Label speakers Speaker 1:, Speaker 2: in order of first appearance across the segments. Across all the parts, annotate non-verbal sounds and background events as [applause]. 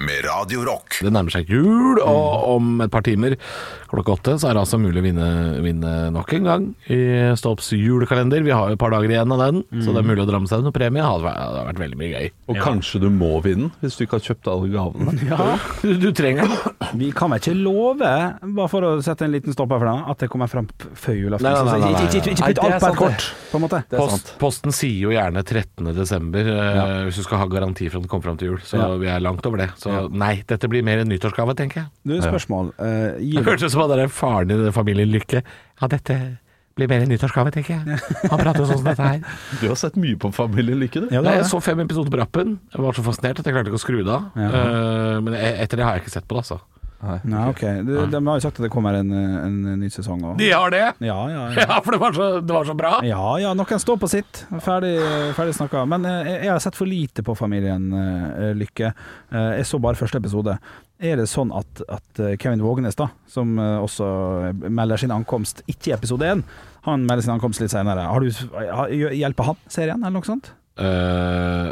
Speaker 1: med Radio Rock.
Speaker 2: Det nærmer seg jul, og om et par timer klokka åtte så er det altså mulig å vinne, vinne nok en gang i Stopps julekalender. Vi har jo et par dager igjen av den, så det er mulig å dra med seg noen premie. Det hadde vært, det hadde vært veldig mye gøy.
Speaker 3: Og kanskje du må vinne hvis du ikke har kjøpt alle
Speaker 4: [laughs]
Speaker 3: gavene.
Speaker 2: Du, du trenger den.
Speaker 4: Vi kan vel ikke love, bare for å sette en liten stopper for det, at det kommer frem p- før julaften.
Speaker 2: Nei, nei, nei, nei, nei.
Speaker 4: Så Ikke, ikke, ikke, ikke
Speaker 2: Nei, det
Speaker 4: putt
Speaker 2: er
Speaker 4: alt på et
Speaker 2: sant,
Speaker 4: kort, på en måte.
Speaker 3: Det er sant.
Speaker 2: Post, posten sier jo gjerne 13. desember, eh, hvis du skal ha garanti for at den kommer fram til jul. Så vi er langt over det. Så nei, dette blir mer en nyttårsgave, tenker jeg.
Speaker 4: Du, spørsmål. Eh,
Speaker 2: Det
Speaker 4: gir,
Speaker 2: hørtes ut som han der faren i den familien Lykke. Ja, dette blir mer en nyttårsgave, tenker jeg. Han prater jo sånn som
Speaker 3: [laughs]
Speaker 2: dette her.
Speaker 3: Du har sett mye på Familien Lykke, du.
Speaker 4: Ja, det
Speaker 2: Nei,
Speaker 4: er
Speaker 2: jeg
Speaker 4: det.
Speaker 2: så fem episoder på rappen. Jeg var så fascinert at jeg klarte ikke å skru det av.
Speaker 4: Ja.
Speaker 2: Eh, men e- etter det har jeg ikke sett på det, altså.
Speaker 4: Nei, ok. Du, de har jo sagt at det kommer en, eh, en ny sesong. Og.
Speaker 2: De har det?
Speaker 4: Ja, ja, ja.
Speaker 2: [laughs] Ja, for det var så, det var så bra.
Speaker 4: Ja, ja, noen står på sitt. Ferdig, ferdig snakka. Men eh, jeg har sett for lite på Familien eh, Lykke. Eh, jeg så bare første episode. Er det sånn at, at Kevin Vågenes, da, som eh, også melder sin ankomst ikke i episode én, han melder sin ankomst litt senere. Har du, har, hjelper han serien, eller noe sånt?
Speaker 2: Eh,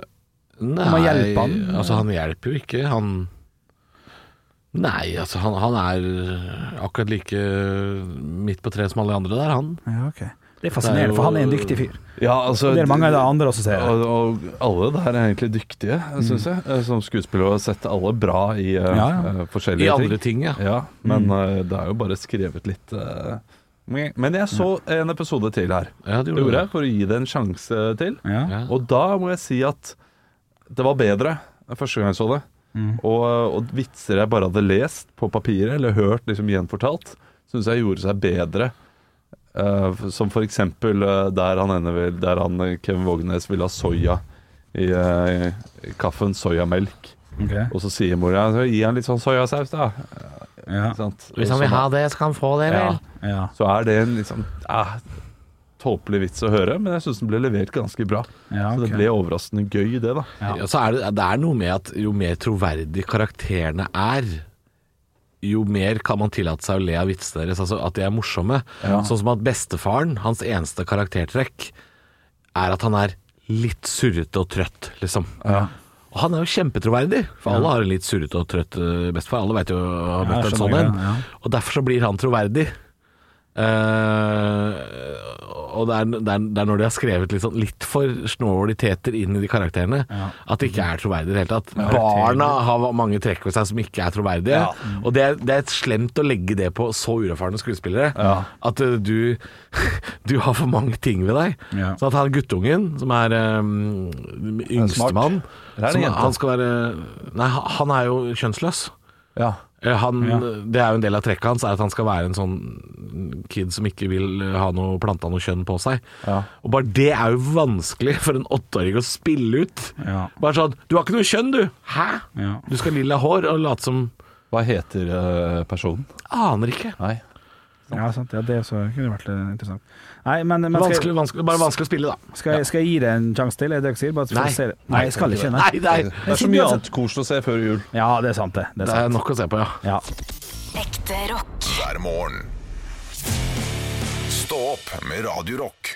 Speaker 2: nei
Speaker 4: Må hjelpe han?
Speaker 2: Altså, han hjelper jo ikke. Han Nei, altså, han, han er akkurat like midt på treet som alle de andre der, han.
Speaker 4: Ja, ok. Det
Speaker 2: Det
Speaker 4: er
Speaker 2: er
Speaker 4: fascinerende,
Speaker 2: jo-
Speaker 4: for han er en dyktig fyr.
Speaker 3: Ja, altså,
Speaker 4: Det er mange av de andre også ser.
Speaker 3: Og, og alle der er egentlig dyktige,
Speaker 4: Mm.
Speaker 3: syns jeg. eh, Som skuespillere har sett alle bra i eh,
Speaker 4: Ja, ja. Mm.
Speaker 3: eh, forskjellige
Speaker 2: I andre ting, ja.
Speaker 3: Ja, men eh, det er jo bare skrevet litt eh, Men jeg så
Speaker 4: Mm.
Speaker 3: en episode til her.
Speaker 2: Ja, det
Speaker 3: Det
Speaker 2: gjorde
Speaker 3: gjorde
Speaker 2: det.
Speaker 3: jeg for å gi det en sjanse til.
Speaker 4: Ja.
Speaker 2: Ja.
Speaker 3: Og da må jeg si at det var bedre enn første gang jeg så det.
Speaker 4: Mm.
Speaker 3: Og, og vitser jeg bare hadde lest på papiret eller hørt liksom gjenfortalt, syns jeg gjorde seg bedre. Eh, som for eksempel eh, der han ender ved, der han eh, Kevin Vågenes vil ha soya i, eh, i kaffen. Soyamelk.
Speaker 4: ok.
Speaker 3: Og så sier mora ja, gi han litt sånn soyasaus, da.
Speaker 4: Sånn, Ja.
Speaker 3: Ikke sant?
Speaker 2: Hvis han vil ha det, skal han få det, vel.
Speaker 3: Ja.
Speaker 4: Ja.
Speaker 3: Så er det en liksom eh, tåpelig vits å høre, men jeg syns den ble levert ganske bra.
Speaker 4: Ja,
Speaker 3: Så det
Speaker 4: ok.
Speaker 3: ble overraskende gøy, det, da.
Speaker 4: Ja.
Speaker 2: Ja, så er det, det er noe med at jo mer troverdige karakterene er, jo mer kan man tillate seg å le av vitsene deres, altså at de er morsomme. Sånn som at bestefaren, hans eneste karaktertrekk, er at han er litt surrete og trøtt, liksom. Og han er jo kjempetroverdig, for alle har en litt surrete og trøtt eh, bestefar. Alle vet jo å ha møtt
Speaker 4: jeg
Speaker 2: en
Speaker 4: skjønner
Speaker 2: sånn en.
Speaker 4: det, ja.
Speaker 2: Og derfor så blir han troverdig. Eh, og det er, det, er, det er når de har skrevet litt, sånn, litt for snåliteter inn i de karakterene, at det ikke er troverdig i det hele tatt. Barna har mange trekk ved seg som ikke er troverdige. Og det er, det er slemt å legge det på så uerfarne skuespillere. At eh, du, [laughs] du har for mange ting ved deg.
Speaker 4: Ja.
Speaker 2: Sånn at han guttungen, som er um, yngstemann
Speaker 3: er det
Speaker 2: som-
Speaker 3: jenta.
Speaker 2: Han skal være Nei, han- han er jo kjønnsløs.
Speaker 3: Ja.
Speaker 2: Eh, Han, Det er jo en del av trekket hans, er at han skal være en sånn kid som ikke vil eh, ha noe planta noe kjønn på seg. Og bare det er jo vanskelig for en åtteåring å spille ut.
Speaker 4: Ja.
Speaker 2: Bare sånn 'Du har ikke noe kjønn, du!' Hæ?
Speaker 4: Ja.
Speaker 2: Du skal ha lilla hår og late som
Speaker 3: Hva heter eh, personen?
Speaker 2: Aner ikke.
Speaker 3: Nei.
Speaker 4: Ja, sant. Ja, det så kunne vært eh, interessant. Nei, men, men skal,
Speaker 2: Vanskelig, vanskelig, bare vanskelig å spille, da.
Speaker 4: skal, jeg, skal jeg gi det en sjanse til? Er det dere sier? Bare for
Speaker 2: Nei.
Speaker 4: å se det. Nei, jeg skal ikke. Nei.
Speaker 2: Nei, det er,
Speaker 3: Det er så mye annet koselig å se før jul.
Speaker 4: Ja, det er sant, det. Det er
Speaker 2: det er
Speaker 4: sant.
Speaker 2: nok å se på, ja.
Speaker 4: Ja.
Speaker 5: Ekte rock.
Speaker 1: Hver morgen. Stå opp med Radio Rock.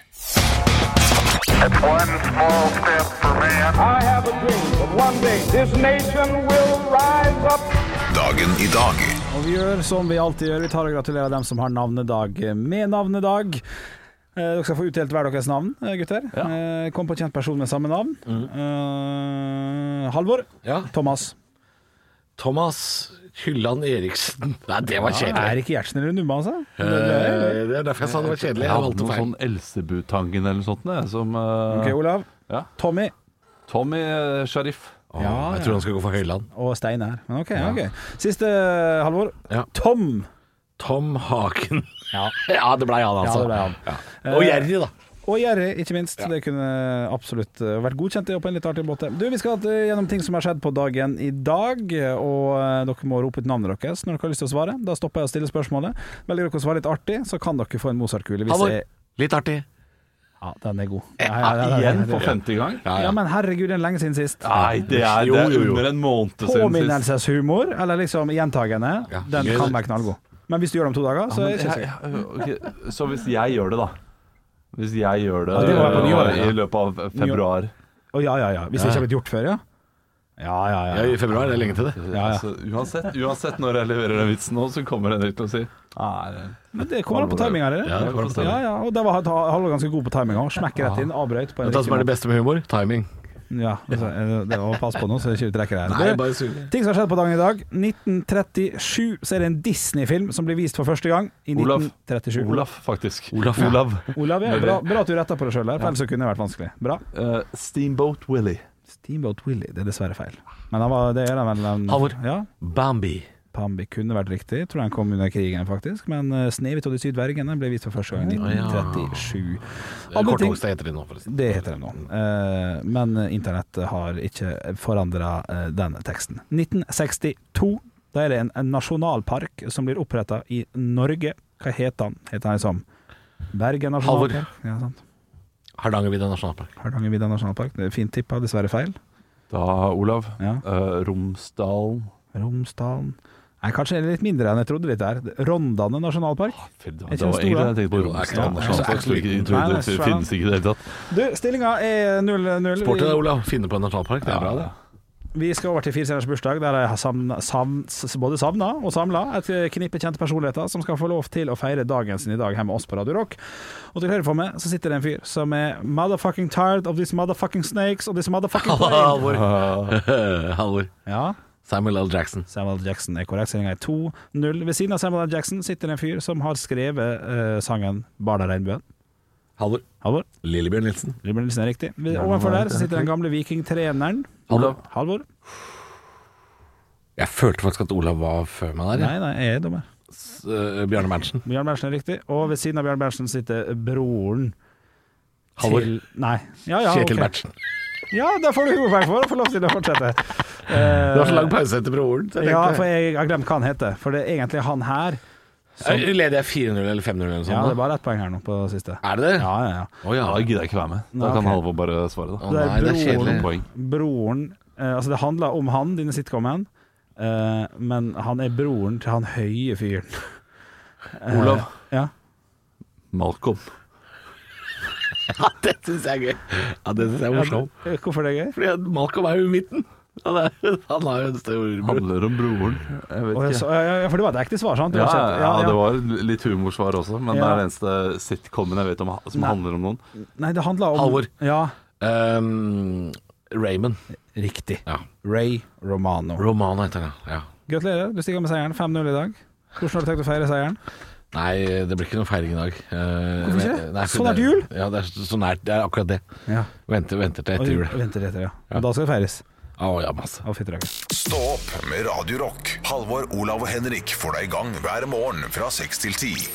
Speaker 6: One small step for man. I have a dream that one day this nation will rise up.
Speaker 1: Dagen i dag.
Speaker 4: Og vi gjør som vi alltid gjør. Vi tar og gratulerer dem som har navnedag med navnedag. Eh, Dere skal få utdelt hver deres navn, eh, gutter. Eh, Kom på kjent person med samme navn. Eh, Halvor.
Speaker 2: Ja.
Speaker 4: Thomas.
Speaker 2: Thomas Hylland Eriksen. Nei, det var
Speaker 4: Ah, Er
Speaker 2: kjedelig.
Speaker 4: ikke Gjertsen eller Numme, altså?
Speaker 2: Eh, Det er derfor jeg sa det var kjedelig.
Speaker 3: Jeg
Speaker 2: Jeg
Speaker 3: hadde
Speaker 2: valgte
Speaker 3: noe
Speaker 2: feil.
Speaker 3: sånn Elsebutangen eller noe sånt. Det, som eh,
Speaker 4: Ok, Olav.
Speaker 3: Ja.
Speaker 4: Tommy.
Speaker 3: Tommy eh, Sharif.
Speaker 2: Å,
Speaker 4: Ja,
Speaker 2: Jeg
Speaker 4: ja.
Speaker 2: tror han skal gå for Høyland.
Speaker 4: Og Stein her. Men ok, ja. ok. Siste, eh, Halvor.
Speaker 2: Ja.
Speaker 4: Tom.
Speaker 2: Tom Hagen.
Speaker 4: Ja.
Speaker 2: [laughs] Ja, det blei han, altså.
Speaker 4: det ble han. Eh,
Speaker 2: Og gjerrig, da.
Speaker 4: Og gjerrig, ikke minst. Det kunne absolutt eh, vært godkjent det på en litt artig måte. Du, Vi skal eh, gjennom ting som har skjedd på dagen i dag, og eh, dere må rope ut navnet deres når dere har lyst til å svare. Da stopper jeg å stille spørsmålet. Velger dere å svare litt artig, så kan dere få en Mozart-kule. hvis
Speaker 2: Halvor,
Speaker 4: jeg-
Speaker 2: litt artig.
Speaker 4: Ja, den er god.
Speaker 3: Igjen
Speaker 4: ja,
Speaker 3: for femte gang?
Speaker 2: Ja,
Speaker 4: ja, men herregud, det er lenge siden sist.
Speaker 3: Nei, det er,
Speaker 2: Jo,
Speaker 3: det er
Speaker 2: jo, jo.
Speaker 3: under en måned siden sist.
Speaker 4: Påminnelseshumor, eller liksom gjentagende,
Speaker 2: Ja.
Speaker 4: den kan være knallgod. Men hvis du gjør det om to dager, så er det
Speaker 3: Ja,
Speaker 4: ikke sikkert.
Speaker 3: ja, ok. Så hvis jeg gjør det, da Hvis jeg gjør det,
Speaker 4: Ja, det må være på nyåret,
Speaker 3: eh,
Speaker 4: ja.
Speaker 3: i løpet av februar.
Speaker 4: Å ja, ja, ja. Hvis det ikke har blitt gjort før, ja? Ja, ja, ja.
Speaker 2: Ja, I februar det er lenge til det.
Speaker 4: ja.
Speaker 3: Altså, uansett, uansett når jeg leverer den vitsen nå, så kommer Henrik til å si "Ah, det er-
Speaker 4: Men det kommer an på timinga, eller?
Speaker 2: Ja, det kommer an på timing.
Speaker 4: ja, ja. Og der var han han var ganske god på timinga. Smekker rett inn, avbrøt på en
Speaker 2: Vet du hva som er det beste med humor? Timing.
Speaker 4: Ja, altså, eh, det å passe på nå, så det ikke trekker her.
Speaker 2: Nei,
Speaker 4: Det-
Speaker 2: bare surre.
Speaker 4: Ting som har skjedd på dagen i dag. 1937 så er det en Disney-film som blir vist for første gang. I
Speaker 3: Olaf.
Speaker 4: 1937.
Speaker 3: Olaf, faktisk.
Speaker 2: Olaf, ja.
Speaker 4: Olav, ja. Bra, bra at du retta på det sjøl, for ellers så kunne det vært vanskelig. Bra.
Speaker 3: Eh, Steamboat Willy.
Speaker 4: Steamboat Willy, det er dessverre feil. Men han var, det er han vel en-
Speaker 2: Halvor.
Speaker 4: Ja.
Speaker 2: Bambi.
Speaker 4: Bambi kunne vært riktig. Jeg tror den kom under krigen, faktisk. Men eh, 'Snehvit og de syv dvergene' ble vist for første gang i 1937. Andre ting-
Speaker 2: Korthogst heter de nå, forresten.
Speaker 4: Det heter den nå. Eh, Men internett har ikke forandra den teksten. 1962. Da er det en, en nasjonalpark som blir oppretta i Norge. Hva heter han? Heter han liksom Bergen nasjonalpark? Ja, sant.
Speaker 2: Hardangervidda nasjonalpark.
Speaker 4: Hardangervidda nasjonalpark. Det er fint tippa, dessverre feil.
Speaker 3: Da, Olav.
Speaker 4: Ja.
Speaker 3: eh, Romsdalen.
Speaker 4: Romsdalen Nei, kanskje litt mindre enn jeg trodde litt der. Rondane nasjonalpark.
Speaker 3: Fy, Det var,
Speaker 4: Er ikke
Speaker 3: det var
Speaker 4: den
Speaker 3: egentlig
Speaker 4: store?
Speaker 3: det jeg tenkte på.
Speaker 2: Jo, det er ikke den.
Speaker 3: Romsdalen.
Speaker 2: Det er
Speaker 3: Sånn,
Speaker 2: så
Speaker 3: faktisk,
Speaker 2: liten.
Speaker 3: ikke-
Speaker 4: Nei,
Speaker 3: Det
Speaker 4: det er svær,
Speaker 3: finnes ikke i det hele tatt.
Speaker 4: Du, stillinga er 0-0.
Speaker 2: Sport til
Speaker 4: Vi-
Speaker 2: deg, Olav. Finne på en nasjonalpark, det er bra, det.
Speaker 4: Vi skal over til firestjerners bursdag, der jeg har savn, savn, s- både savna og samla et knippe kjente personligheter som skal få lov til å feire dagen sin i dag her med oss på Radio Rock. Og til høyre for meg så sitter det en fyr som er motherfucking tired of these motherfucking snakes og this motherfucking
Speaker 2: [laughs]
Speaker 4: plane.
Speaker 2: Halvor. [laughs] Halvor.
Speaker 4: Ja,
Speaker 2: Samuel L. Jackson.
Speaker 4: Samuel L. Jackson er korrekt. Stillinga er 2-0. Ved siden av Samuel L. Jackson sitter det en fyr som har skrevet eh, sangen 'Barda regnbuen'.
Speaker 2: Halvor.
Speaker 4: Halvor,
Speaker 2: Lillebjørn Nilsen.
Speaker 4: Ruben Nilsen er riktig. Ved- Overfor der så sitter den gamle vikingtreneren.
Speaker 2: Olav.
Speaker 4: Halvor?
Speaker 2: Jeg følte faktisk at Olav var før meg der. jeg.
Speaker 4: Nei, nei, jeg er dommer.
Speaker 2: S- øh, Bjarne Berntsen.
Speaker 4: Bjørn Berntsen er riktig. Og ved siden av Bjørn Berntsen sitter broren
Speaker 2: Halvor.
Speaker 4: til Nei. Ja, ja,
Speaker 2: Kjetil
Speaker 4: ok.
Speaker 2: Berntsen.
Speaker 4: Ja, da får du hovedpoeng for å få lov til å
Speaker 2: [laughs]
Speaker 4: fortsette. Eh,
Speaker 2: Det var så lang pause etter broren. så jeg
Speaker 4: ja,
Speaker 2: tenkte-
Speaker 4: for jeg har glemt hva han heter. For det er egentlig han her.
Speaker 2: Eh, Leder jeg 4-0 eller 5-0 eller noe sånt?
Speaker 4: Ja,
Speaker 2: da?
Speaker 4: det er bare ett poeng her nå på siste.
Speaker 2: Er det det?
Speaker 4: Ja, ja, ja.
Speaker 2: Å, ja.
Speaker 3: Da gidder jeg ikke være med. Da
Speaker 4: Nei,
Speaker 3: kan
Speaker 4: ok.
Speaker 3: Halvor bare svare, da.
Speaker 2: Å, nei, det er
Speaker 4: Det er broren.
Speaker 2: kjedelig.
Speaker 3: Poeng.
Speaker 4: Broren eh, Altså, det handler om han, dine sitcomen, eh, men han er broren til han høye fyren. Eh,
Speaker 3: Olav.
Speaker 4: Ja.
Speaker 3: Malcolm.
Speaker 2: Ja, det syns jeg er gøy. Ja, det syns jeg er morsomt.
Speaker 4: Eh, Hvorfor det er gøy?
Speaker 2: Fordi at Malcolm er jo i midten. Han, er, han har jo en stor
Speaker 3: Handler om broren. Jeg vet
Speaker 4: Å, jeg
Speaker 3: ikke.
Speaker 4: så- ja, ja, ja, for det var et ekte svar, sant? Det
Speaker 3: Ja,
Speaker 4: var
Speaker 3: ja,
Speaker 4: ikke-
Speaker 3: ja, det var litt humorsvar også, men det
Speaker 4: Ja.
Speaker 3: er den eneste sitcomen jeg vet om som
Speaker 4: Nei.
Speaker 3: handler om noen.
Speaker 4: Nei, det handler om
Speaker 2: Halvor.
Speaker 4: Ja,
Speaker 2: um, Raymond.
Speaker 4: Riktig.
Speaker 2: Ja.
Speaker 4: Ray Romano.
Speaker 2: Romano heter han, ja.
Speaker 4: Gratulerer, du stiger med seieren. 5-0 i dag. Hvordan har du tenkt å feire seieren?
Speaker 2: Nei, det blir ikke noen feiring i dag. Eh,
Speaker 4: ikke det?
Speaker 2: men- nei, for
Speaker 4: Så nært
Speaker 2: det-
Speaker 4: jul?
Speaker 2: Ja, det er så så nært. Det er akkurat det.
Speaker 4: Ja.
Speaker 2: Venter, venter til etter jul. Å
Speaker 4: Venter etter, ja. Og Da skal det feires.
Speaker 2: ja, masse.
Speaker 4: Å, fytti rakkeren.
Speaker 1: Stå opp med Radio Rock. Halvor, Olav og Henrik får deg i gang hver morgen fra 6 til 10.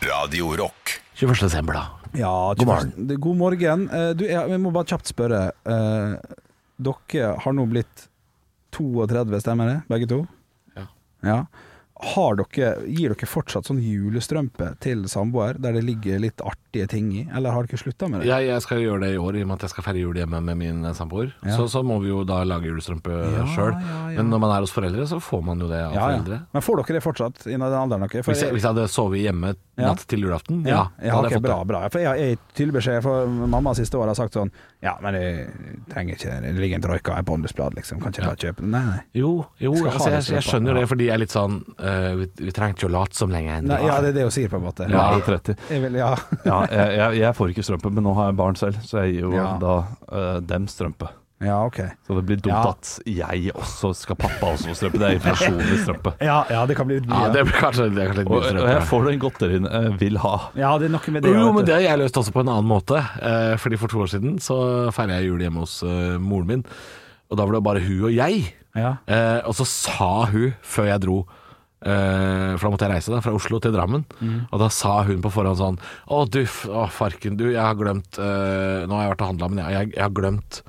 Speaker 1: Radio Rock.
Speaker 2: 21. desember, da.
Speaker 4: Ja,
Speaker 2: God morgen.
Speaker 4: tusen- det- God morgen. Eh, Du, jeg, jeg må bare kjapt spørre. Eh, Dere har nå blitt 32, stemmer det? Begge to?
Speaker 2: Ja.
Speaker 4: Ja. Har dere, gir dere fortsatt sånn julestrømpe til samboer der det ligger litt artige ting i, eller har dere slutta med det?
Speaker 2: Jeg, jeg skal gjøre det i år, i og med at jeg skal feire jul hjemme med min eh, samboer.
Speaker 4: Ja.
Speaker 2: Så, så må vi jo da lage julestrømpe
Speaker 4: Ja,
Speaker 2: sjøl.
Speaker 4: ja, ja.
Speaker 2: Men når man er hos foreldre, så får man jo det av
Speaker 4: Ja, ja.
Speaker 2: foreldre.
Speaker 4: Men får dere det fortsatt innen den alderen dere? For
Speaker 2: Hvis jeg, hvis jeg hadde sovet hjemme
Speaker 4: Ja.
Speaker 2: natt til julaften, ja,
Speaker 4: Ja,
Speaker 2: da hadde
Speaker 4: ok,
Speaker 2: jeg fått
Speaker 4: bra,
Speaker 2: det.
Speaker 4: bra. For jeg jeg har tydelig beskjed, for mamma siste året har sagt sånn Ja, men jeg trenger ikke det. Det ligger en troika i Bondesblad, liksom. Kan ikke jeg bare kjøpe den? Nei, nei.
Speaker 2: Jo, jo
Speaker 4: Skal ha
Speaker 2: altså, jeg,
Speaker 4: det strømpa.
Speaker 2: jeg skjønner jo det, fordi jeg er litt sånn eh, vi, vi trengte jo å late som lenge.
Speaker 4: nei ja, det er det hun sier, på en måte.
Speaker 3: Nå er det 30.
Speaker 4: Jeg vil, ja. [laughs]
Speaker 3: Ja, jeg, jeg, jeg får ikke strømpe, men nå har jeg barn selv, så jeg gir jo
Speaker 4: Ja.
Speaker 3: da eh, dem strømpe.
Speaker 4: ja, ok.
Speaker 3: Så det blir dumt
Speaker 4: Ja.
Speaker 3: at jeg også skal pappa også få strømpe. Det er inflasjonlig strømpe.
Speaker 4: Ja, ja, det kan bli litt
Speaker 2: Ja,
Speaker 4: mye.
Speaker 2: det blir kanskje, det er kanskje litt
Speaker 3: Og,
Speaker 2: mye
Speaker 3: og
Speaker 2: strømpe.
Speaker 3: jeg får den godterien jeg eh, vil ha.
Speaker 4: Ja, det er noe med det.
Speaker 2: Jo,
Speaker 4: vet
Speaker 2: men
Speaker 4: du.
Speaker 2: det har jeg løst også på en annen måte. Eh, fordi For to år siden så feira jeg jul hjemme hos eh, moren min. Og da var det bare hun og jeg.
Speaker 4: Ja.
Speaker 2: Eh, og så sa hun før jeg dro eh, For da måtte jeg reise da, fra Oslo til Drammen.
Speaker 4: Mhm.
Speaker 2: Og da sa hun på forhånd sånn Å, du, f- å, farken, du, jeg har glemt eh, Nå har jeg vært og handla, men jeg, jeg, jeg har glemt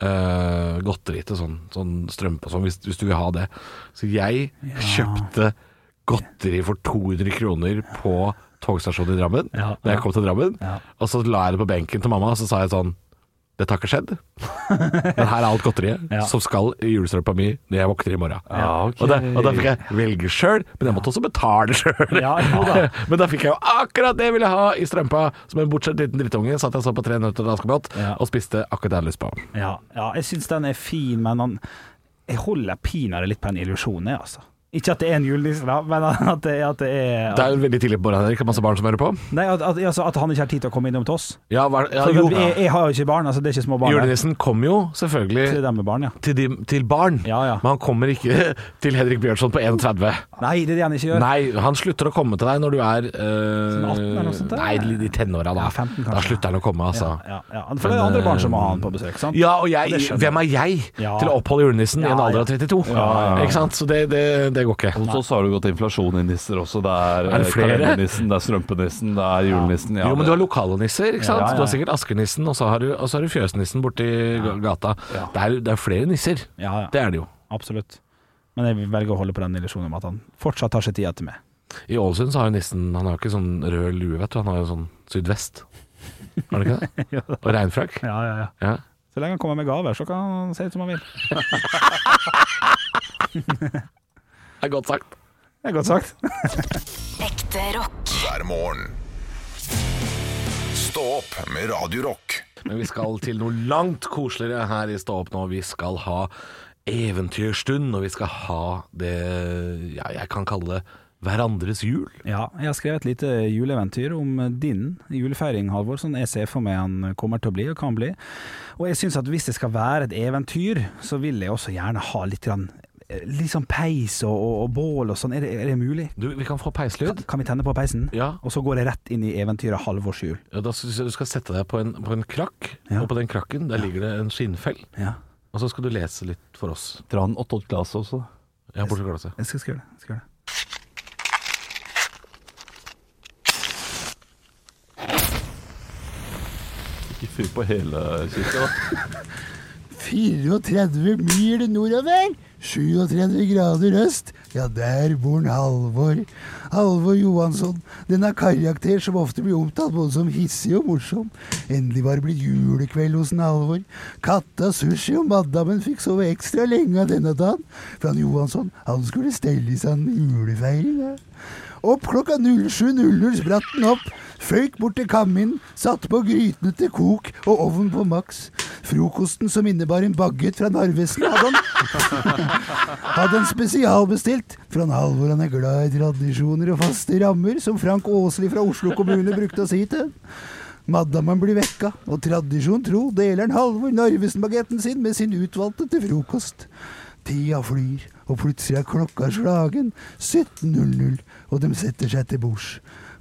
Speaker 2: eh, godteri til sånn, sånn strømpe og sånn, hvis, hvis du vil ha det. Så jeg kjøpte godteri for 200 kroner på togstasjonen i Drammen,
Speaker 4: Ja,
Speaker 2: da jeg kom til Drammen.
Speaker 4: Ja.
Speaker 2: Og så la jeg det på benken til mamma, og så sa jeg sånn Dette har ikke skjedd. Men her er alt godteriet
Speaker 4: [laughs] Ja.
Speaker 2: som skal i julestrømpa mi når jeg våkner i morgen.
Speaker 3: Ja, ok.
Speaker 2: og, da, og da fikk jeg velge sjøl, men jeg måtte også betale sjøl.
Speaker 4: Ja, jo da.
Speaker 2: [laughs] men da fikk jeg jo akkurat det jeg ville ha i strømpa. Som en bortskjemt liten drittunge satt jeg så på Tre nøtter til Askepott
Speaker 4: Ja.
Speaker 2: og spiste akkurat det jeg hadde lyst på.
Speaker 4: Ja, ja jeg syns den er fin, men han, jeg holder pinadø litt på en illusjon, jeg, altså. Ikke at det er en julenisse, da, men [laughs] at det, at det er
Speaker 2: Det er jo veldig tidlig på morgenen, Henrik. Det er masse barn som hører på.
Speaker 4: Nei, at, at, altså, at han ikke har tid til å komme innom til oss.
Speaker 2: Ja, hva, ja,
Speaker 4: For
Speaker 2: jo.
Speaker 4: at jeg, jeg har jo ikke barn, altså det er ikke små barn. der.
Speaker 2: Julenissen kom jo selvfølgelig
Speaker 4: Til dem med barn, ja.
Speaker 2: til, de, til barn,
Speaker 4: Ja, ja.
Speaker 2: men han kommer ikke [laughs] til Henrik Bjørnson på 31.
Speaker 4: Nei, det er det han [laughs] ikke gjør.
Speaker 2: Nei, han slutter å komme til deg når du er eh,
Speaker 4: 18 eller noe sånt der?
Speaker 2: Nei, litt i tenåra da.
Speaker 4: Ja, 15 kanskje.
Speaker 2: da slutter han å komme, altså.
Speaker 4: Ja,
Speaker 2: Ja,
Speaker 4: ja, ja. For det er andre barn som må ha han på besøk, sant?
Speaker 2: eh, og jeg,
Speaker 4: Det skjønner jeg.
Speaker 2: hvem er jeg
Speaker 4: Ja.
Speaker 2: til å oppholde julenissen i en
Speaker 4: Ja,
Speaker 2: alder av 32? Ikke sant? Så det, det, det går ikke.
Speaker 3: Hos oss har det gått inflasjon i nisser også. Det er,
Speaker 2: Er det
Speaker 3: eh,
Speaker 2: flere?
Speaker 3: kalendernissen, det er strømpenissen, det er julenissen. Ja,
Speaker 2: Jo, men
Speaker 3: det-
Speaker 2: du har lokale nisser, ikke sant?
Speaker 4: Ja, ja, ja.
Speaker 2: Du har sikkert askenissen, og så har du, og så har du fjøsnissen borti gata. Det, er, det er flere nisser.
Speaker 4: Ja, ja.
Speaker 2: Det er det jo.
Speaker 4: Absolutt. Men jeg velger å holde på den illusjonen om at han fortsatt tar seg tida til meg.
Speaker 2: I Ålesund så har jo nissen Han har jo ikke sånn rød lue, vet du. Han har jo sånn sydvest. Har han
Speaker 4: [laughs]
Speaker 2: ikke det? Og regnfrakk.
Speaker 4: Ja, ja, ja.
Speaker 2: Ja.
Speaker 4: Så lenge han kommer med gaver, så kan han se ut som han vil.
Speaker 2: Det er godt sagt.
Speaker 4: Det er godt sagt. [laughs]
Speaker 5: Ekte rock.
Speaker 1: hver morgen. Stå opp med Radio Rock.
Speaker 2: Men vi skal til noe langt koseligere her i Stå opp nå. Vi skal ha eventyrstund, og vi skal ha det ja, jeg kan kalle det hverandres jul.
Speaker 4: Ja, jeg har skrevet et lite juleeventyr om eh, din julefeiring, Halvor, som jeg ser for meg han eh, kommer til å bli og kan bli. Og jeg syns at hvis det skal være et eventyr, så vil jeg også gjerne ha litt, grann, eh, litt sånn peis og, og, og bål og sånn. Er det, er det mulig?
Speaker 2: Du, vi kan få peislyd.
Speaker 4: Kan vi tenne på peisen?
Speaker 2: Ja.
Speaker 4: Og så går jeg rett inn i eventyret Halvors jul.
Speaker 2: Ja, Da syns jeg du skal sette deg på en, på en krakk,
Speaker 4: Ja.
Speaker 2: og på den krakken der ligger det en skinnfell.
Speaker 4: Ja.
Speaker 2: Og så skal du lese litt for oss.
Speaker 3: Dra den opp til glasset også.
Speaker 2: Ja, bortsett fra glasset.
Speaker 4: Jeg skal skrive det. jeg Skal gjøre det.
Speaker 3: Ikke fyr på hele kirka, da.
Speaker 7: 34 mil nordover, 37 grader øst. Ja, der bor en Halvor. Halvor Johansson. Denne karakter som ofte blir omtalt både som hissig og morsom. Endelig var det blitt julekveld hos en Halvor. Katta Sushi og madammen fikk sove ekstra lenge av denne dagen, for han Johansson han skulle stelle i seg en julefeiring. Ja. Opp klokka 07.00 spratt den opp, føyk bort til kaminen, satte på grytene til kok og ovnen på maks. Frokosten som innebar en baguett fra Narvesen, hadde han, hadde han spesialbestilt. For han Halvor han er glad i tradisjoner og faste rammer, som Frank Åsli fra Oslo kommune brukte å si til. Madammen blir vekka, og tradisjon tro deler han Halvor Narvesen-bagetten sin med sin utvalgte til frokost. Tida flyr, og plutselig er klokka slagen 17.00, og de setter seg til bords.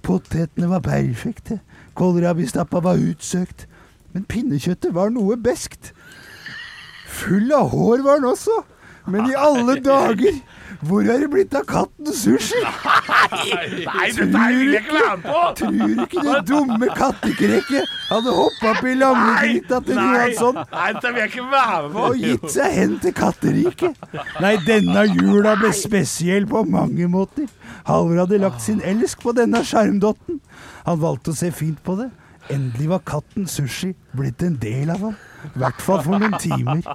Speaker 7: Potetene var perfekte, kålrabistappa var utsøkt, men pinnekjøttet var noe beskt. Full av hår var den også, men i alle dager, hvor er det blitt av katten Sushi?
Speaker 2: Nei,
Speaker 7: Tror du ikke det dumme kattekrekket hadde hoppa opp i langegryta til Johansson
Speaker 2: dette vil jeg ikke være med
Speaker 7: og gitt seg hen til katteriket? Nei, denne jula ble spesiell på mange måter. Halvor hadde lagt sin elsk på denne sjarmdotten. Han valgte å se fint på det. Endelig var katten Sushi blitt en del av ham. I hvert fall for noen timer.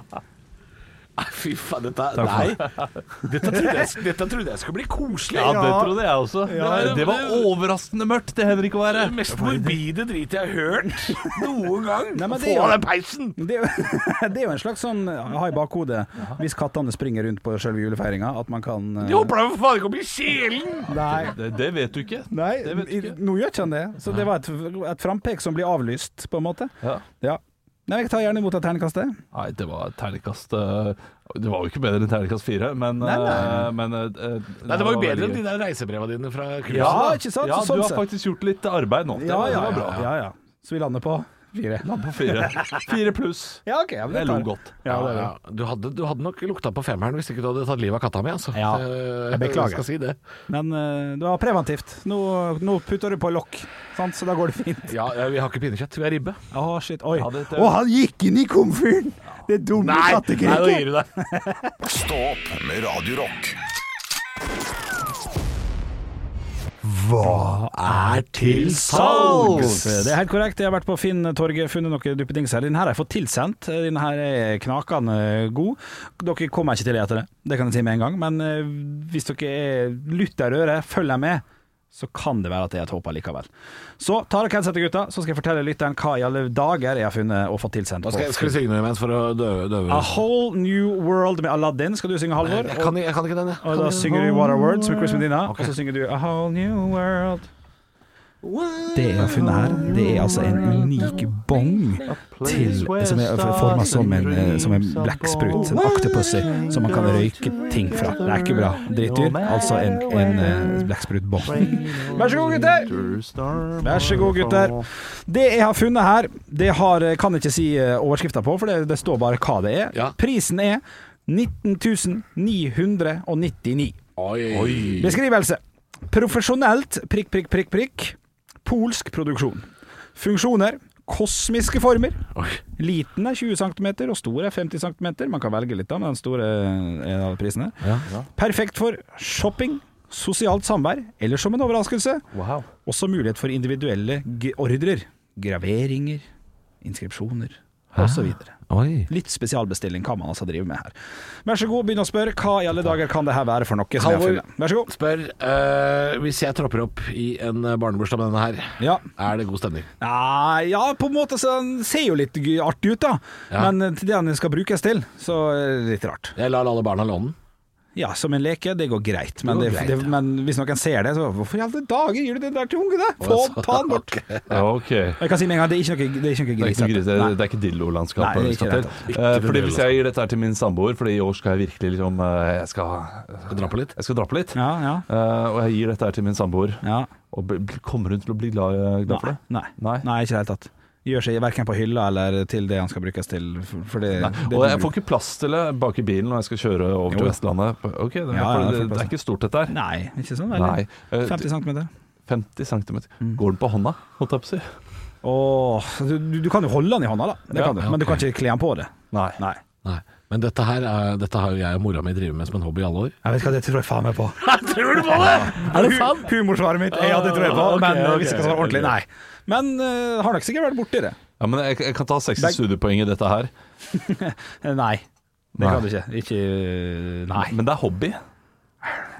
Speaker 2: Fy faen, dette Nei. Dette trodde, jeg, dette trodde jeg skulle bli koselig.
Speaker 3: Ja, det trodde jeg også.
Speaker 2: Ja.
Speaker 3: Det var overraskende mørkt, det Henrik å
Speaker 2: Det
Speaker 3: være.
Speaker 2: mest morbide dritet jeg har hørt noen gang.
Speaker 4: Nei, men det
Speaker 2: Få
Speaker 4: er jo-
Speaker 2: av den peisen!
Speaker 4: [laughs] Det, er jo- det er jo en slags sånn jeg har i bakhodet hvis kattene springer rundt på selve julefeiringa, at man kan eh,
Speaker 2: Jeg håper da for faen ikke å bli kjelen!
Speaker 4: Nei.
Speaker 3: Det, det vet du ikke.
Speaker 4: Nei,
Speaker 3: Det vet du
Speaker 4: i- nå gjør ikke han det. Så det var et, et frampek som blir avlyst, på en måte.
Speaker 3: Ja.
Speaker 4: Ja. Nei, jeg tar gjerne imot et terningkast, det.
Speaker 3: Nei, det var terningkast eh, Det var jo ikke bedre enn terningkast fire, men,
Speaker 4: Nei, nei.
Speaker 3: eh, men eh, eh,
Speaker 2: Nei, det var jo
Speaker 3: veldig
Speaker 2: bedre enn
Speaker 3: gøy.
Speaker 2: de der reisebreva dine fra kurset.
Speaker 3: Ja,
Speaker 4: Ja, ikke sant?
Speaker 3: ja
Speaker 4: Så sånn
Speaker 3: du har
Speaker 4: sett.
Speaker 3: faktisk gjort litt arbeid nå. Det
Speaker 4: Ja,
Speaker 3: var-
Speaker 4: ja,
Speaker 3: det var
Speaker 4: ja,
Speaker 3: bra.
Speaker 4: ja, ja. Så vi lander på fire.
Speaker 3: Land på fire. Fire pluss.
Speaker 4: Ja, ok. Ja, men det
Speaker 3: Jeg
Speaker 4: tar
Speaker 3: lo
Speaker 4: jeg.
Speaker 3: godt.
Speaker 4: Ja, det er
Speaker 2: Ja, Du, hadde, du hadde nok lukta på femmeren hvis ikke du hadde tatt livet av katta mi, altså.
Speaker 4: Ja,
Speaker 2: Eh,
Speaker 4: jeg beklager.
Speaker 2: Skal si det.
Speaker 4: Men eh, det var preventivt. Nå, nå putter du på lokk, sant? så da går det fint.
Speaker 2: Ja, ja, vi har ikke pinnekjøtt, vi har ribbe.
Speaker 4: Å, shit. Oi.
Speaker 3: Ja, det,
Speaker 7: Og han gikk inn i komfyren! Det dumme
Speaker 2: nei, nå
Speaker 7: kattekrekket.
Speaker 2: gir du deg.
Speaker 1: Stå opp med Radio Rock.
Speaker 7: Hva
Speaker 2: er til salgs!
Speaker 4: Det er helt korrekt. Jeg har vært på Finn-torget, funnet noen duppedings her. Denne her har jeg fått tilsendt. Denne her er knakende god. Dere kommer ikke til å gjette det, det kan jeg si med en gang. Men eh, hvis dere er lytter øret, følger med, så kan det være at det er et håp likevel. Så ta dere hensyn til gutta, så skal jeg fortelle lytteren hva i alle dager jeg har funnet og fått tilsendt.
Speaker 2: Da
Speaker 4: På.
Speaker 2: skal, jeg- skal vi synge noe imens for å døve, døve.
Speaker 4: A Whole New World med Aladdin skal du synge, Halvor.
Speaker 2: jeg, kan, jeg kan ikke den, jeg.
Speaker 4: Og da synger du What Are Words med Chris Medina, og så synger du A Whole New World. Det jeg har funnet her, det er altså en unik bong til, som er forma som en, eh, som en blekksprut, en octopussy, som man kan røyke ting fra. Det er ikke bra. Drittdyr. Altså en, en eh, blekksprutbong. Vær så god, gutter! Vær så god, gutter. Det jeg har funnet her, det har, kan jeg ikke si eh, overskriften på, for det, det står bare hva det er.
Speaker 2: Ja.
Speaker 4: Prisen er 19 999.
Speaker 2: Oi. Oi.
Speaker 4: Beskrivelse. Profesjonelt prikk, prikk, prikk, prikk. Polsk produksjon. Funksjoner. Kosmiske former. Liten er 20 cm, og stor er 50 cm. Man kan velge litt, da, men den store er en av prisene. Perfekt for shopping, sosialt samvær eller som en overraskelse.
Speaker 3: Wow.
Speaker 4: Også mulighet for individuelle g- ordrer. Graveringer, inskripsjoner osv.
Speaker 2: Oi.
Speaker 4: Litt spesialbestilling kan man altså drive med her. Vær så god, begynn å spørre. Hva i alle dager kan det her være for noe? Som jeg har
Speaker 2: Halvor.
Speaker 4: funnet? Vær så god.
Speaker 2: Spør eh, hvis jeg tropper opp i en eh, barnebursdag med denne her,
Speaker 4: Ja.
Speaker 2: er det god stemning?
Speaker 4: Nei, ja, på en måte så den ser jo litt gøy- artig ut, da.
Speaker 2: Ja.
Speaker 4: Men til det den skal brukes til, så er det litt rart.
Speaker 2: Jeg lar alle barna låne den.
Speaker 4: Ja, som en leke, det går greit. Men,
Speaker 2: Det
Speaker 4: det
Speaker 2: går greit, ja.
Speaker 4: men hvis noen ser det, så Hvorfor i alle dager gir du den der til ungene? Få
Speaker 2: Altså,
Speaker 4: ta den bort!
Speaker 2: ok.
Speaker 3: Ja, ok.
Speaker 4: Jeg kan si med en gang, det er ikke noe, det er ikke noe
Speaker 3: Det er ikke, noe
Speaker 4: grisete.
Speaker 3: gris, det
Speaker 4: Nei.
Speaker 3: er- det er ikke dillolandskapet
Speaker 4: Nei,
Speaker 3: vi
Speaker 4: det er
Speaker 3: skal
Speaker 4: ikke
Speaker 3: til.
Speaker 2: det. Ikke
Speaker 3: Eh, Fordi Hvis
Speaker 2: dillolandskap.
Speaker 3: jeg gir dette her til min samboer, Fordi i år skal jeg virkelig liksom eh, Jeg skal,
Speaker 2: Skal dra på litt?
Speaker 3: jeg skal dra på litt.
Speaker 4: Ja, ja.
Speaker 3: Eh, og jeg gir dette her til min samboer.
Speaker 4: ja.
Speaker 3: Og bl- bl- Kommer hun til å bli glad, glad for
Speaker 4: Nei,
Speaker 3: det?
Speaker 4: nei.
Speaker 3: Nei.
Speaker 4: Nei, ikke i det hele tatt. Gjør seg verken på hylla eller til det han skal brukes til. For for det, det
Speaker 3: Og jeg får ikke plass til det bak i bilen når jeg skal kjøre over til
Speaker 4: Jo.
Speaker 3: Vestlandet. Ok, det,
Speaker 4: Ja, ja,
Speaker 3: for
Speaker 4: det
Speaker 3: det,
Speaker 4: får
Speaker 3: det
Speaker 4: plass.
Speaker 3: er ikke stort, dette her.
Speaker 4: Nei, ikke sånn veldig.
Speaker 3: Nei. Eh,
Speaker 4: 50 cm.
Speaker 3: 50 cm.
Speaker 4: Mm.
Speaker 3: Går den på hånda, holdt jeg på å si?
Speaker 4: Åh, du, du kan jo holde den i hånda, da. Det
Speaker 3: Ja,
Speaker 4: kan du. Men du kan ikke kle den på det.
Speaker 3: Nei.
Speaker 4: Nei.
Speaker 2: Nei. Men dette her er, dette har jo jeg og mora mi drevet med som en hobby i alle år.
Speaker 4: Jeg vet hva, det tror jeg faen meg på.
Speaker 2: Tror du på det?! [laughs] Er det sant?
Speaker 4: Humorsvaret mitt, ja, det tror jeg på.
Speaker 2: Ah, ok,
Speaker 4: men eh,
Speaker 2: ok,
Speaker 4: hvis jeg skal svare ordentlig,
Speaker 2: ok.
Speaker 4: nei. Men eh, har nok sikkert vært borti det.
Speaker 3: Ja, men jeg, jeg kan ta 60
Speaker 4: Det er-
Speaker 3: studiepoeng i dette her.
Speaker 4: Eh, Nei. Det
Speaker 3: Nei.
Speaker 4: kan du ikke. Ikke eh, Nei.
Speaker 3: Men det er hobby.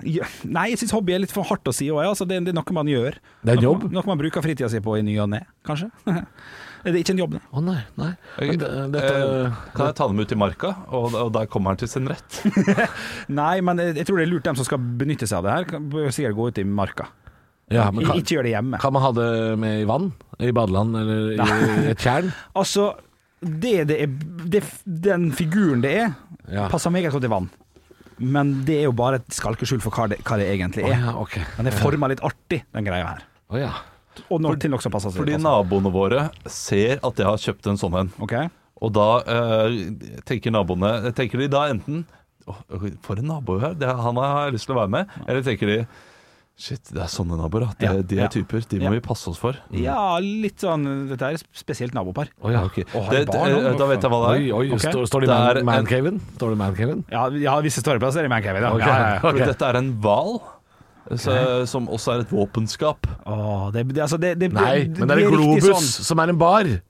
Speaker 4: Ja, Nei, jeg syns hobby er litt for hardt å si òg. Altså, det, det er noe man gjør.
Speaker 2: Det er en jobb?
Speaker 4: Noe, noe man bruker fritida si på i ny og ne, kanskje. [laughs] det er ikke en jobb, nei.
Speaker 2: Å nei, nei.
Speaker 3: Jeg,
Speaker 2: Men det,
Speaker 3: eh,
Speaker 2: dette,
Speaker 3: kan jeg ta dem ut i marka, og, og der kommer han til sin rett?
Speaker 4: Nei, men jeg, jeg tror det er lurt dem som skal benytte seg av det her, kan- bør sikkert gå ut i marka.
Speaker 2: ja, men kan,
Speaker 4: ikke gjør det hjemme.
Speaker 2: kan man ha det med i vann? I badeland eller i et tjern?
Speaker 4: Altså, det det er, det, den figuren det er,
Speaker 2: Ja.
Speaker 4: passer meget godt i vann. Men det er jo bare et skalkeskjul for hva det, hva det egentlig
Speaker 2: Å
Speaker 4: er.
Speaker 2: ja, ok.
Speaker 4: Den er forma litt artig, den greia her.
Speaker 2: Å ja.
Speaker 4: Og nok til nokså passer seg.
Speaker 3: Fordi naboene våre ser at jeg har kjøpt en sånn en.
Speaker 4: Ok.
Speaker 3: Og da eh, tenker naboene Tenker de da enten «Åh, For en nabo her, det, han har jeg lyst til å være med. Eller tenker de Shit, det er sånne naboer. at Det,
Speaker 4: Ja,
Speaker 3: de er
Speaker 4: ja.
Speaker 3: typer. De
Speaker 4: Ja.
Speaker 3: må vi passe oss for. Mm.
Speaker 4: Ja, litt sånn Dette er et spesielt nabopar.
Speaker 2: Å ja.
Speaker 3: Ok.
Speaker 4: har
Speaker 3: Det,
Speaker 4: de barn
Speaker 3: eh,
Speaker 4: nå?
Speaker 3: da vet jeg hva det
Speaker 2: Oi,
Speaker 3: er.
Speaker 2: oi,
Speaker 4: Ok.
Speaker 2: står, står det i
Speaker 3: Det er
Speaker 2: man, mancaven? Står det i mancaven?
Speaker 4: Ja, ja visse ståeplasser i Mancaven. Ja.
Speaker 2: Ok.
Speaker 4: Ja, ja, ja.
Speaker 3: For Dette er en hval, så- som også er et våpenskap.
Speaker 4: Åh, det, det, altså, det, det,
Speaker 2: Nei,
Speaker 4: det-
Speaker 2: men det er
Speaker 4: det
Speaker 2: en
Speaker 4: riktig
Speaker 2: globus som er en bar.
Speaker 4: Sånn.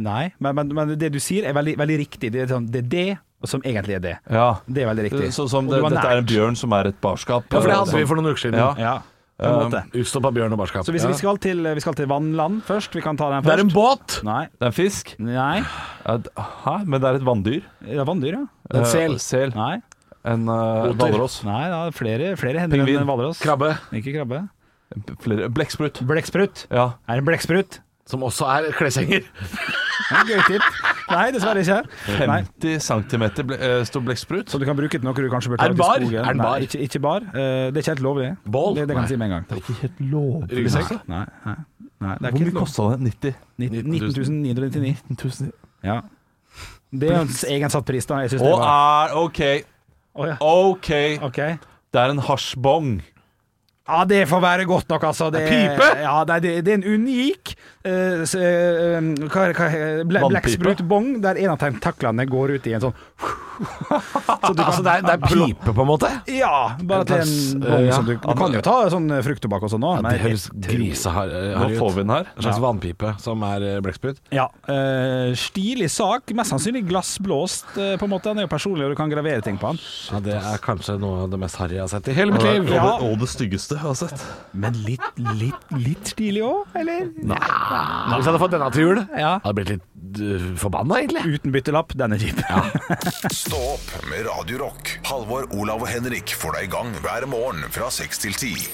Speaker 4: Nei, men, men, men det du sier er veldig, veldig riktig. Det er, sånn, det er det som egentlig er det.
Speaker 3: Ja.
Speaker 4: Det er veldig riktig.
Speaker 3: Eh, Så, som
Speaker 4: Og
Speaker 3: det,
Speaker 4: du var
Speaker 3: dette er en
Speaker 4: nært.
Speaker 3: bjørn som er et barskap. eh,
Speaker 2: Ja, for det hadde vi for noen uker siden.
Speaker 3: Ja.
Speaker 4: Ja, på en
Speaker 3: Um,
Speaker 4: måte.
Speaker 2: Utstoppa bjørn og barskap.
Speaker 4: Så hvis vi,
Speaker 2: Ja.
Speaker 4: skal til, vi skal til vannland først. Vi kan ta den først.
Speaker 2: Det er en båt!
Speaker 4: Nei.
Speaker 3: Det er en fisk.
Speaker 4: Nei.
Speaker 3: Ja, d- Hæ? Men det er et vanndyr.
Speaker 4: Det er vanndyr, ja.
Speaker 2: En
Speaker 3: Eh,
Speaker 2: sel.
Speaker 3: sel.
Speaker 4: Nei.
Speaker 3: En eh,
Speaker 2: Oter.
Speaker 3: hvalross.
Speaker 4: Nei, da, er det flere, flere hender
Speaker 3: Pingvin.
Speaker 4: enn hvalross.
Speaker 2: Krabbe,
Speaker 4: Ikke krabbe.
Speaker 3: Flere- Blekksprut.
Speaker 4: Blekksprut.
Speaker 3: Ja.
Speaker 4: Er det en blekksprut?
Speaker 2: som også er kleshenger.
Speaker 4: Ja, Gøy tipp. Nei, dessverre
Speaker 3: Eh,
Speaker 4: ikke. Nei.
Speaker 3: 50 cm ble, eh, stor blekksprut.
Speaker 4: Så du kan bruke til noe du kanskje bør ta
Speaker 2: Er den
Speaker 4: ut i
Speaker 2: bar?
Speaker 4: skogen.
Speaker 2: Er den bar?
Speaker 4: Nei, ikke, ikke bar. Eh, Det er ikke helt lovlig.
Speaker 2: Bål?
Speaker 4: Det, det kan jeg si med en gang.
Speaker 3: Det er ikke helt lovlig.
Speaker 2: Ryggsekk?
Speaker 4: Nei, nei, nei, det
Speaker 3: Hvor
Speaker 4: er ikke
Speaker 3: mye
Speaker 4: helt lov.
Speaker 3: kosta det? 90
Speaker 4: 19 999.
Speaker 3: 000?
Speaker 4: Ja. Det er jo en s- egen satt pris, da. Jeg synes
Speaker 3: Å, ah.
Speaker 4: det
Speaker 3: er
Speaker 4: var
Speaker 3: OK.
Speaker 4: Å, ja.
Speaker 3: OK.
Speaker 4: OK.
Speaker 3: Det er en hasjbong.
Speaker 4: Ja, det får være godt nok, altså. Det
Speaker 3: Pipe?
Speaker 4: Ja, nei, det, det er en unik eh, s- eh, hva, hva, eh, ble,
Speaker 3: Vannpipe?
Speaker 4: Blekksprutbong der en av tentaklene går ut i en sånn
Speaker 2: Så du, altså, det, er, det er pipe, på en måte?
Speaker 4: Ja, bare til
Speaker 2: En
Speaker 4: en
Speaker 2: plass,
Speaker 4: bong
Speaker 2: eh,
Speaker 4: som
Speaker 2: ja.
Speaker 4: du Du kan jo ta sånn eh, frukttobakk og sånn òg.
Speaker 2: Ja, det høres
Speaker 3: Nå
Speaker 2: griseharry
Speaker 3: får
Speaker 2: ut.
Speaker 3: vi den her.
Speaker 2: En slags vannpipe som er eh, blekksprut.
Speaker 4: Ja. eh, stilig sak. Mest sannsynlig glassblåst, eh, på en måte. Han er jo personlig, og du kan gravere ting på han.
Speaker 2: Ja, det er kanskje noe av det mest harry jeg har sett i hele mitt
Speaker 3: Og
Speaker 2: liv.
Speaker 3: det,
Speaker 4: Ja.
Speaker 3: og det styggeste jeg har sett.
Speaker 4: Men litt, litt, litt stilig òg, eller?
Speaker 2: Hvis jeg hadde fått denne til jul,
Speaker 4: Ja.
Speaker 2: hadde jeg blitt litt uh, forbanna, egentlig.
Speaker 4: Uten byttelapp, den er kjip.
Speaker 1: Stå opp med Radio Rock. Halvor, Olav og Henrik får deg i gang hver morgen fra 6 til 10.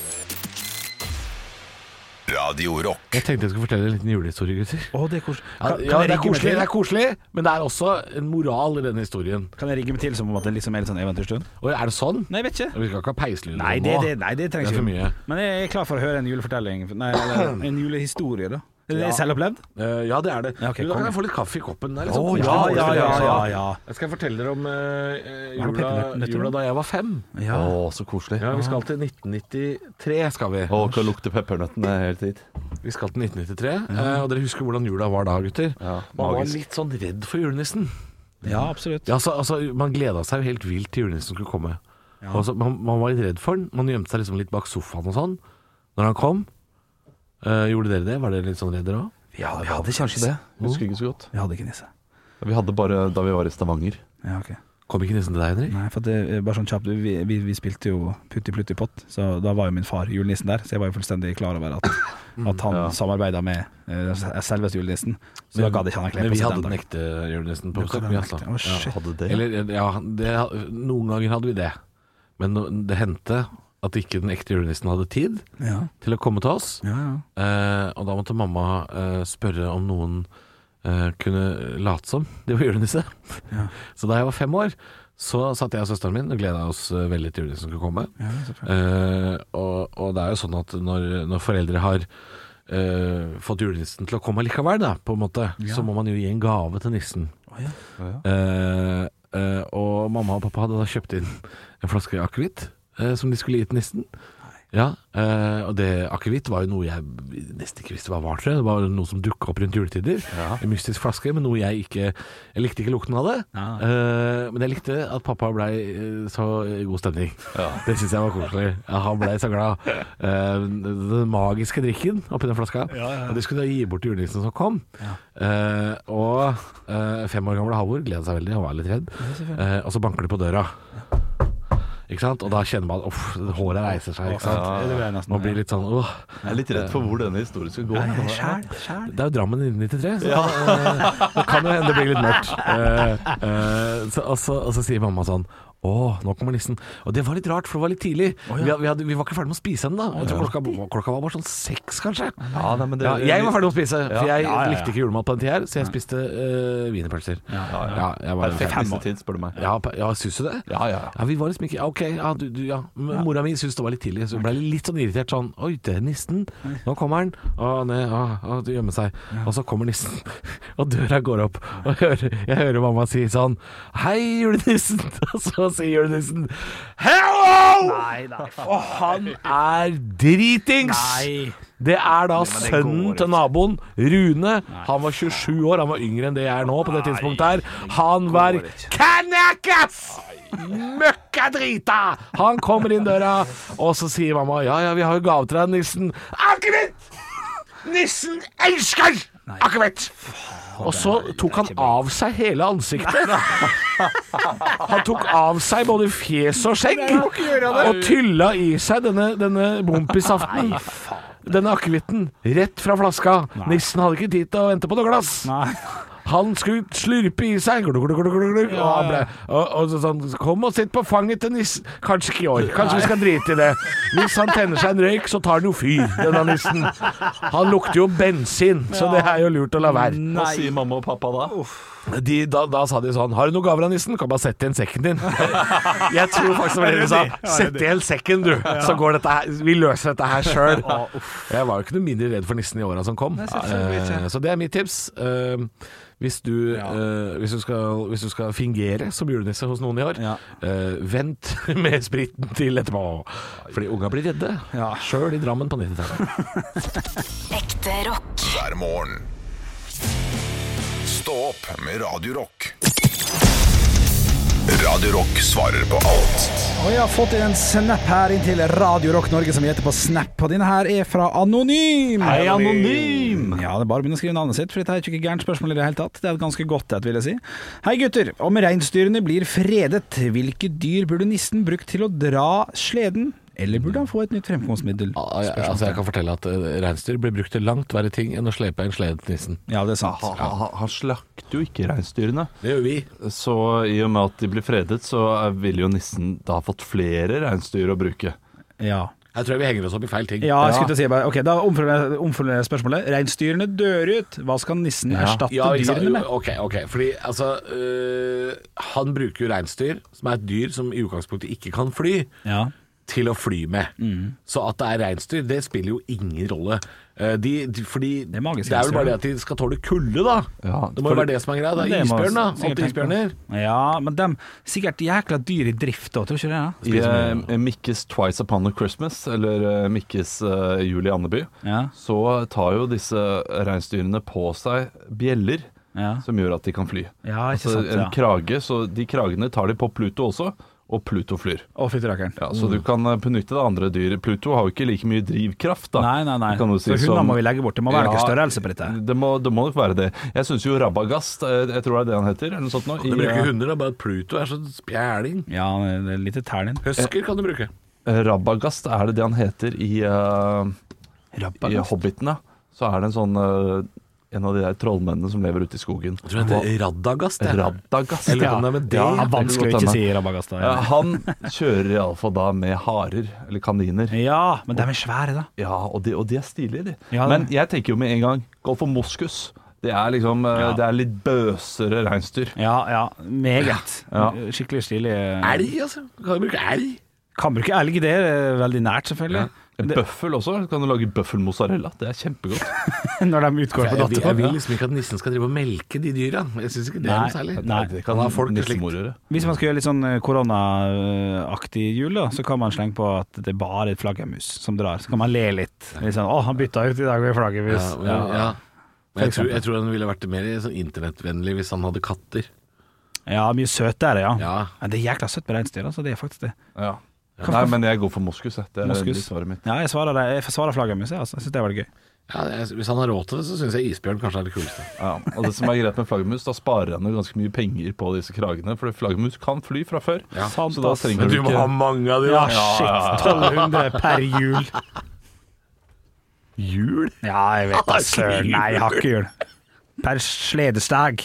Speaker 1: Radio Rock.
Speaker 2: Jeg tenkte jeg skulle fortelle en liten julehistorie, gutter.
Speaker 4: Å, det er kos-
Speaker 2: Ja,
Speaker 4: Kan,
Speaker 2: ja,
Speaker 4: kan jeg
Speaker 2: det er
Speaker 4: rigge meg
Speaker 2: koselig, det
Speaker 4: til?
Speaker 2: er koselig, men det er også en moral i denne historien.
Speaker 4: Kan jeg rigge meg til som om at det liksom er litt sånn eventyrstund?
Speaker 2: Og er det sånn?
Speaker 4: Nei, vet ikke.
Speaker 2: Vi skal ikke ha peislyd
Speaker 4: Nei, det, det, nei, det
Speaker 2: Det
Speaker 4: trengs
Speaker 2: er for mye.
Speaker 4: Men jeg er klar for å høre en julefortelling. Nei, eller en julehistorie, da. Eller
Speaker 2: Ja.
Speaker 4: er selvopplevd?
Speaker 2: Eh, ja, det er det.
Speaker 4: Ja, ok,
Speaker 2: Men da
Speaker 4: kom.
Speaker 2: kan jeg få litt kaffe i koppen. Det er litt
Speaker 4: Å,
Speaker 2: sånn-
Speaker 4: ja, ja, ja, ja, ja.
Speaker 2: Jeg skal fortelle dere om eh, eh,
Speaker 4: Var det
Speaker 2: jula,
Speaker 4: peppernøtter?
Speaker 2: jula da jeg var fem.
Speaker 4: Ja.
Speaker 3: så koselig.
Speaker 2: Ja, vi skal til 1993, skal vi.
Speaker 3: Å, hva lukter peppernøttene helt hit.
Speaker 2: Vi skal til 1993, eh, og dere husker hvordan jula var da, gutter.
Speaker 3: Ja,
Speaker 2: man var
Speaker 3: magisk.
Speaker 2: litt sånn redd for julenissen.
Speaker 4: Ja, absolutt.
Speaker 2: Ja, altså, altså, man gleda seg jo helt vilt til julenissen skulle komme. Og så- man, man var litt redd for den. Man gjemte seg liksom litt bak sofaen og sånn. Når han kom, eh, gjorde dere det? Var dere litt sånn redde da?
Speaker 4: Ja, vi hadde kanskje det.
Speaker 3: Husker ikke så godt.
Speaker 4: Vi hadde ikke nisse.
Speaker 3: Vi hadde bare da vi var i Stavanger.
Speaker 4: Ja, ok.
Speaker 2: Kom ikke nissen til deg, Henrik?
Speaker 4: Nei, for det er bare sånn kjapt Vi, vi, vi spilte jo Putti Plutti Pott, så da var jo min far julenissen der. Så jeg var jo fullstendig klar over at, at han samarbeidet med eh, selveste julenissen. Så da gadd ikke han å kle
Speaker 2: Men
Speaker 4: på
Speaker 2: vi
Speaker 4: seg
Speaker 2: hadde eh, den
Speaker 4: den dagen.
Speaker 2: ekte julenissen på
Speaker 4: Du kan
Speaker 2: besøk.
Speaker 4: ha
Speaker 2: vi,
Speaker 4: den
Speaker 2: altså.
Speaker 4: ekte. Å, shit.
Speaker 3: Hadde det?
Speaker 2: Eller, ja, det, noen ganger hadde vi det. Men no, det hendte at ikke den ekte julenissen hadde tid
Speaker 4: Ja,
Speaker 2: til å komme til oss.
Speaker 4: ja, ja.
Speaker 2: Eh, og da måtte mamma eh, spørre om noen eh, kunne late som de var julenisse.
Speaker 4: Ja.
Speaker 2: [laughs] Så da jeg var fem år, så satt jeg og søsteren min og gleda oss eh, veldig til julenissen skulle komme.
Speaker 4: ja selvfølgelig.
Speaker 2: Eh, og, og det er jo sånn at når, når foreldre har eh, fått julenissen til å komme likevel, da, på en måte, så må man jo gi en gave til nissen.
Speaker 4: Å, ja.
Speaker 2: Eh, eh, og mamma og pappa hadde da kjøpt inn en flaske akevitt eh, som de skulle gi til nissen. Ja, eh, og det akevitt var jo noe jeg nesten ikke visste hva var, tror jeg. Det var noe som dukka opp rundt juletider. En mystisk flaske, men noe jeg ikke Jeg likte ikke lukten av det.
Speaker 4: Ja.
Speaker 2: Eh, men jeg likte at pappa blei eh, så i god stemning. Det syns jeg var koselig. Ja, han blei så glad. Eh, den magiske drikken oppi den flaska. Og det skulle da gi bort til julenissen som kom. Eh, og eh, fem år gamle Halvor gleda seg veldig, han var litt redd. Eh, og så banker det på døra. Ikke sant? Og da kjenner man uff, håret reiser seg. Ikke sant?
Speaker 4: Ja, det ble jeg nesten.
Speaker 2: Man blir litt sånn åh.
Speaker 3: Jeg er litt redd for hvor denne historien skal gå.
Speaker 4: Skjæl, skjæl.
Speaker 2: Det er jo Drammen 1993, så eh, det kan jo hende det blir litt mørkt. Eh, eh, så, og, så, og så sier mamma sånn å, nå kommer nissen. Og det var litt rart, for det var litt tidlig. Vi, hadde- vi, hadde, vi var ikke ferdig med å spise ennå. Jeg tror klokka, klokka var bare sånn seks, kanskje.
Speaker 3: Ja, nei, men det-
Speaker 2: Ja, jeg var ferdig med å spise, for jeg
Speaker 4: Ja, ja, ja.
Speaker 2: likte ikke julemat på den tida her, så jeg spiste eh, wienerpølser. Ja, ja, jeg var-
Speaker 3: Perfekt
Speaker 4: Fem år.
Speaker 3: nissetid, spør du meg.
Speaker 2: Ja, pa- ja, syns du det?
Speaker 3: Ja, ja, ja.
Speaker 2: Ja, vi var liksom ikke ja, Ok, ja, du, du, ja. Men Mora mi syntes det var litt tidlig, så hun ble litt sånn irritert. Sånn Oi, det er nissen. Nå kommer han. Å, nei, å, å, det gjemmer seg. Og så kommer nissen, [laughs] og døra går opp. Og jeg hører, jeg hører mamma si sånn Hei, julenissen. [laughs] Og så sier julenissen Hello! Og han er dritings! Det er da sønnen til naboen, Rune. Han var 27 år, han var yngre enn det jeg er nå på det tidspunktet her. Han var kanakas! Møkkadrita! Han kommer inn døra, og så sier mamma ja, ja, vi har jo gave til deg, nissen. Akevitt! Nissen elsker akevitt! Og så tok han av seg hele ansiktet. Han tok av seg både fjes og skjegg, og tylla i seg denne, denne bompisaften. Denne akevitten rett fra flaska. Nissen hadde ikke tid til å vente på noe glass.
Speaker 4: Nei.
Speaker 2: Han skulle slurpe i seg glug, glug, glug, glug, glug, Og han ble og, og så sånn Kom og sitt på fanget til nissen Kanskje ikke i år Kanskje vi skal drite i det Hvis han tenner seg en røyk Så tar han jo fyr Denne nissen Han lukter jo bensin Så det er jo lurt å la være
Speaker 3: Hva sier mamma og pappa da?
Speaker 2: de, da, da sa de sånn Har du noen gaver av nissen? Kan bare sette igjen sekken din [laughs] Jeg tror faktisk det var det de sa Sett igjen sekken du Så går dette her Vi løser dette her selv Jeg var jo ikke noe mindre redd for nissen i årene som kom Eh, Så det er mitt tips Eh, hvis du, eh, hvis, du skal, hvis du skal fingere som julenisse hos noen i år
Speaker 4: Ja.
Speaker 2: eh, Vent [laughs] med spriten til etterpå Fordi unga blir redde
Speaker 4: Ja.
Speaker 2: Selv i Drammen på 90-tallet
Speaker 5: Ekte rock.
Speaker 1: hver morgen. Stå opp med Radio Rock. Radio Rock svarer på alt.
Speaker 4: Og jeg har fått en snap her inn til Radio Rock Norge som heter på Snap, og denne her er fra Anonym.
Speaker 3: Hei, anonym!
Speaker 4: Ja, det er bare å begynne å skrive navnet sitt, for dette er jo ikke gærent spørsmål i det hele tatt. Det er et ganske godt et, vil jeg si. Hei gutter, om reinsdyrene blir fredet, hvilke dyr burde nissen brukt til å dra sleden? Eller burde han få et nytt fremkomstmiddel?
Speaker 2: Ah, jeg- Altså, jeg kan fortelle at eh, reinsdyr blir brukt til langt verre ting enn å slepe en slede til nissen.
Speaker 4: Ja, det er sant.
Speaker 3: Han, han, han slakter jo ikke reinsdyrene.
Speaker 2: Det gjør vi.
Speaker 3: Så i og med at de blir fredet, så ville jo nissen da fått flere reinsdyr å bruke.
Speaker 4: Ja.
Speaker 2: Jeg tror vi henger oss opp i feil ting.
Speaker 4: Ja, jeg skulle til å si bare Ok, da omformulerer jeg- omformulerer jeg spørsmålet. Reinsdyrene dør ut. Hva skal nissen erstatte
Speaker 2: Ja, ikke sant?
Speaker 4: dyrene med?
Speaker 2: Jo, Ok, ok. Fordi altså øh, Han bruker jo reinsdyr, som er et dyr som i utgangspunktet ikke kan fly,
Speaker 4: Ja. Mhm.
Speaker 2: til å fly med. Så at det er reinsdyr, det spiller jo ingen rolle. Eh, De, de, fordi det
Speaker 4: er
Speaker 2: er,
Speaker 4: magisk
Speaker 2: vel
Speaker 4: reinsdyr,
Speaker 2: bare
Speaker 4: da.
Speaker 2: det at de skal tåle kulde, da.
Speaker 3: Ja,
Speaker 2: det må jo
Speaker 3: for-
Speaker 2: være det som er greia. da.
Speaker 4: Det må
Speaker 2: Isbjørn, da.
Speaker 4: sikkert
Speaker 2: Åtte
Speaker 4: tenke på.
Speaker 2: isbjørner.
Speaker 4: Ja, men dem sikkert jækla dyr i drift da, tror du ikke det? da?
Speaker 3: I eh, Mikkes 'Twice Upon a Christmas', eller eh, Mikkes eh, 'Jul i Andeby',
Speaker 4: Ja.
Speaker 3: så tar jo disse reinsdyrene på seg bjeller
Speaker 4: Ja.
Speaker 3: som gjør at de kan fly.
Speaker 4: Ja, ikke
Speaker 3: altså
Speaker 4: sant,
Speaker 3: en
Speaker 4: ja.
Speaker 3: krage, så De kragene tar de på Pluto også, og Pluto flyr.
Speaker 4: Å, fytti rakkeren.
Speaker 3: Ja, så du kan eh, benytte det andre dyret. Pluto har jo ikke like mye drivkraft, da.
Speaker 4: Nei, nei, nei.
Speaker 3: Du kan jo si
Speaker 4: så hundene
Speaker 3: som-
Speaker 4: må vi legge bort. Det må
Speaker 3: Ja,
Speaker 4: være noe størrelse på dette.
Speaker 3: Det må, det må nok være det. Jeg syns jo Rabagast, eh, jeg tror det er det han heter, eller noe sånt nå.
Speaker 2: Du
Speaker 3: i, eh,
Speaker 2: bruker hunder, da. Bare Pluto er sånn spjæling.
Speaker 4: Ja, det er lite tern inn.
Speaker 2: Husker kan du bruke.
Speaker 3: Rabagast, er det det han heter i, eh, i Hobbiten, da? Så er det en sånn eh, En av de der trollmennene som lever ute i skogen.
Speaker 2: Jeg tror det heter Radagast. jeg.
Speaker 3: Radagast.
Speaker 2: Eller om det er med det.
Speaker 3: Ja,
Speaker 4: Ja, vanskelig å
Speaker 3: det kan godt
Speaker 4: ikke si
Speaker 3: hende.
Speaker 4: Rabagasta.
Speaker 3: Eh,
Speaker 4: Ja.
Speaker 3: Han kjører iallfall da med harer, eller kaniner.
Speaker 4: ja, men de er svære, da.
Speaker 3: Ja, og de, og de er stilige, de.
Speaker 4: Ja, det-
Speaker 3: Men jeg tenker jo med en gang Gå for moskus. Det er liksom eh,
Speaker 4: Ja.
Speaker 3: Det er litt bøsere reinsdyr.
Speaker 4: Ja, ja. Meget.
Speaker 3: Ja.
Speaker 4: Skikkelig stilig.
Speaker 2: Elg, altså. Kan du bruke elg?
Speaker 4: Kan bruke elg, det er veldig nært, selvfølgelig.
Speaker 3: En Bøffel også. Kan du lage bøffelmozzarella? Det er kjempegodt.
Speaker 4: [laughs] Når de utgår på
Speaker 2: Jeg, jeg,
Speaker 4: datteren.
Speaker 2: vil liksom ikke at nissen skal drive og melke de dyra. Jeg syns ikke det er
Speaker 4: Nei,
Speaker 2: noe særlig.
Speaker 4: nei.
Speaker 2: det kan ha folk til slikt.
Speaker 3: nissemor gjøre.
Speaker 4: Hvis man skal gjøre litt sånn eh, koronaaktig jul, da, så kan man slenge på at det bare er et flaggermus som drar. Så kan man le litt. Litt sånn 'Å, han bytta ut i dag med
Speaker 2: Ja,
Speaker 4: flaggermus'.
Speaker 2: ja, ja. Men jeg tror,
Speaker 4: eksempel.
Speaker 2: jeg tror han ville vært mer sånn internettvennlig hvis han hadde katter.
Speaker 4: Ja, mye søtere, ja.
Speaker 2: Ja.
Speaker 4: Men det er jækla søtt med reinsdyr, altså. Det er faktisk det.
Speaker 3: Ja. Nei, men jeg går for moskus. jeg. Det er
Speaker 4: Moskus.
Speaker 3: litt svaret mitt.
Speaker 4: Ja, jeg svarer, det. Jeg svarer flaggermus, jeg, altså. Jeg syns det var gøy.
Speaker 2: Ja, jeg, hvis han har råd til det, så syns jeg isbjørn kanskje er det kuleste.
Speaker 3: Ja. Og det som er greit med flaggermus, da sparer han jo ganske mye penger på disse kragene. For flaggermus kan fly fra før.
Speaker 4: Sant,
Speaker 3: så da
Speaker 4: ass.
Speaker 3: trenger du ikke
Speaker 2: mange av de,
Speaker 4: Ja, shit. 1200 per jul.
Speaker 3: hjul.
Speaker 4: Ja, jeg vet
Speaker 2: Ah,
Speaker 4: da søren. Nei, jeg har ikke jul. Per sledestag.